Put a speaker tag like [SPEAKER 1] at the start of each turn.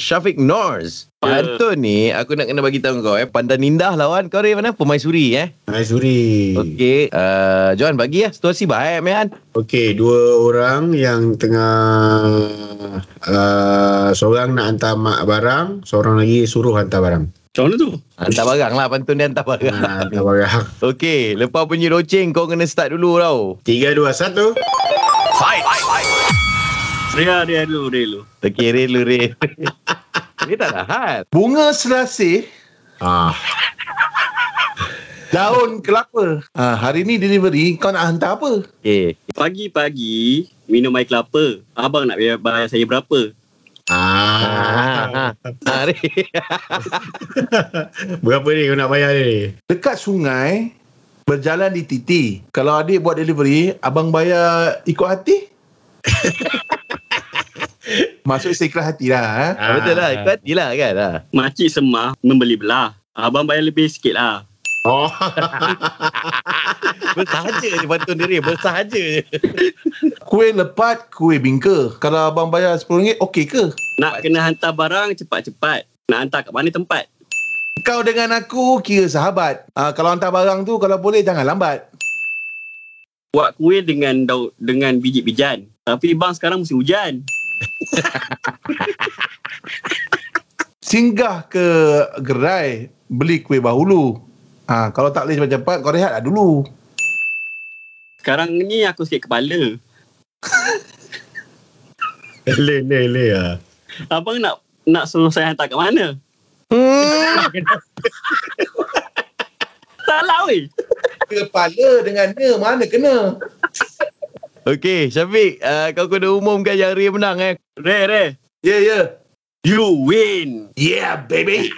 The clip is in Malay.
[SPEAKER 1] Syafiq Norz. Pantun ni aku nak kena bagi tahu kau eh. Pandan Indah lawan kau dari mana? Permaisuri eh.
[SPEAKER 2] Maizuri.
[SPEAKER 1] Okey, uh, John bagi lah situasi baik man.
[SPEAKER 2] Okey, dua orang yang tengah uh, seorang nak hantar mak barang, seorang lagi suruh hantar barang.
[SPEAKER 3] Macam mana tu?
[SPEAKER 1] Hantar barang lah pantun dia hantar barang.
[SPEAKER 2] Ha, hantar barang.
[SPEAKER 1] Okey, lepas bunyi loceng kau kena start dulu tau.
[SPEAKER 2] Tiga, dua, satu.
[SPEAKER 3] Ria, Ria dulu, Ria dulu.
[SPEAKER 1] Okey, Ray lu Ray. Dia tak tahan.
[SPEAKER 4] Bunga selasih,
[SPEAKER 2] Ah,
[SPEAKER 4] daun kelapa. Ha, hari ni delivery, kau nak hantar apa?
[SPEAKER 1] Okey.
[SPEAKER 3] Pagi-pagi, minum air kelapa. Abang nak bayar, bayar saya berapa?
[SPEAKER 2] ah.
[SPEAKER 1] Ah, ah, ah, Ray.
[SPEAKER 2] Berapa ni kau nak bayar ni?
[SPEAKER 4] Dekat sungai, berjalan di titi. Kalau adik buat delivery, abang bayar ikut hati? Masuk seklah hati lah. Ha?
[SPEAKER 2] Ah.
[SPEAKER 1] Betul lah, ikut hati lah kan. Ah.
[SPEAKER 3] Makcik semah membeli belah. Abang bayar lebih sikit lah.
[SPEAKER 2] Oh,
[SPEAKER 1] Bersahaja je pantun dia Ray, bersahaja je.
[SPEAKER 4] Kuih lepat, kuih bingka. Kalau abang bayar RM10, okey ke?
[SPEAKER 3] Nak kena hantar barang cepat-cepat. Nak hantar kat mana tempat?
[SPEAKER 4] Kau dengan aku kira sahabat. Ha, kalau hantar barang tu, kalau boleh jangan lambat.
[SPEAKER 3] Buat kuih dengan daun, dengan biji bijan. Tapi bang sekarang musim hujan.
[SPEAKER 4] Singgah ke gerai, beli kuih bahulu. Ha, kalau tak boleh cepat-cepat, kau rehatlah dulu.
[SPEAKER 3] Sekarang ni aku sikit kepala.
[SPEAKER 2] le le le ah.
[SPEAKER 3] Abang nak nak suruh saya hantar kat mana?
[SPEAKER 1] Hmm.
[SPEAKER 3] Salah weh.
[SPEAKER 4] Kepala dengan ne, mana kena?
[SPEAKER 1] Okey, Syafiq, uh, kau kena umumkan yang Ray menang eh.
[SPEAKER 3] Re, re.
[SPEAKER 4] Ya, yeah, ya. Yeah.
[SPEAKER 3] You win.
[SPEAKER 4] Yeah, baby.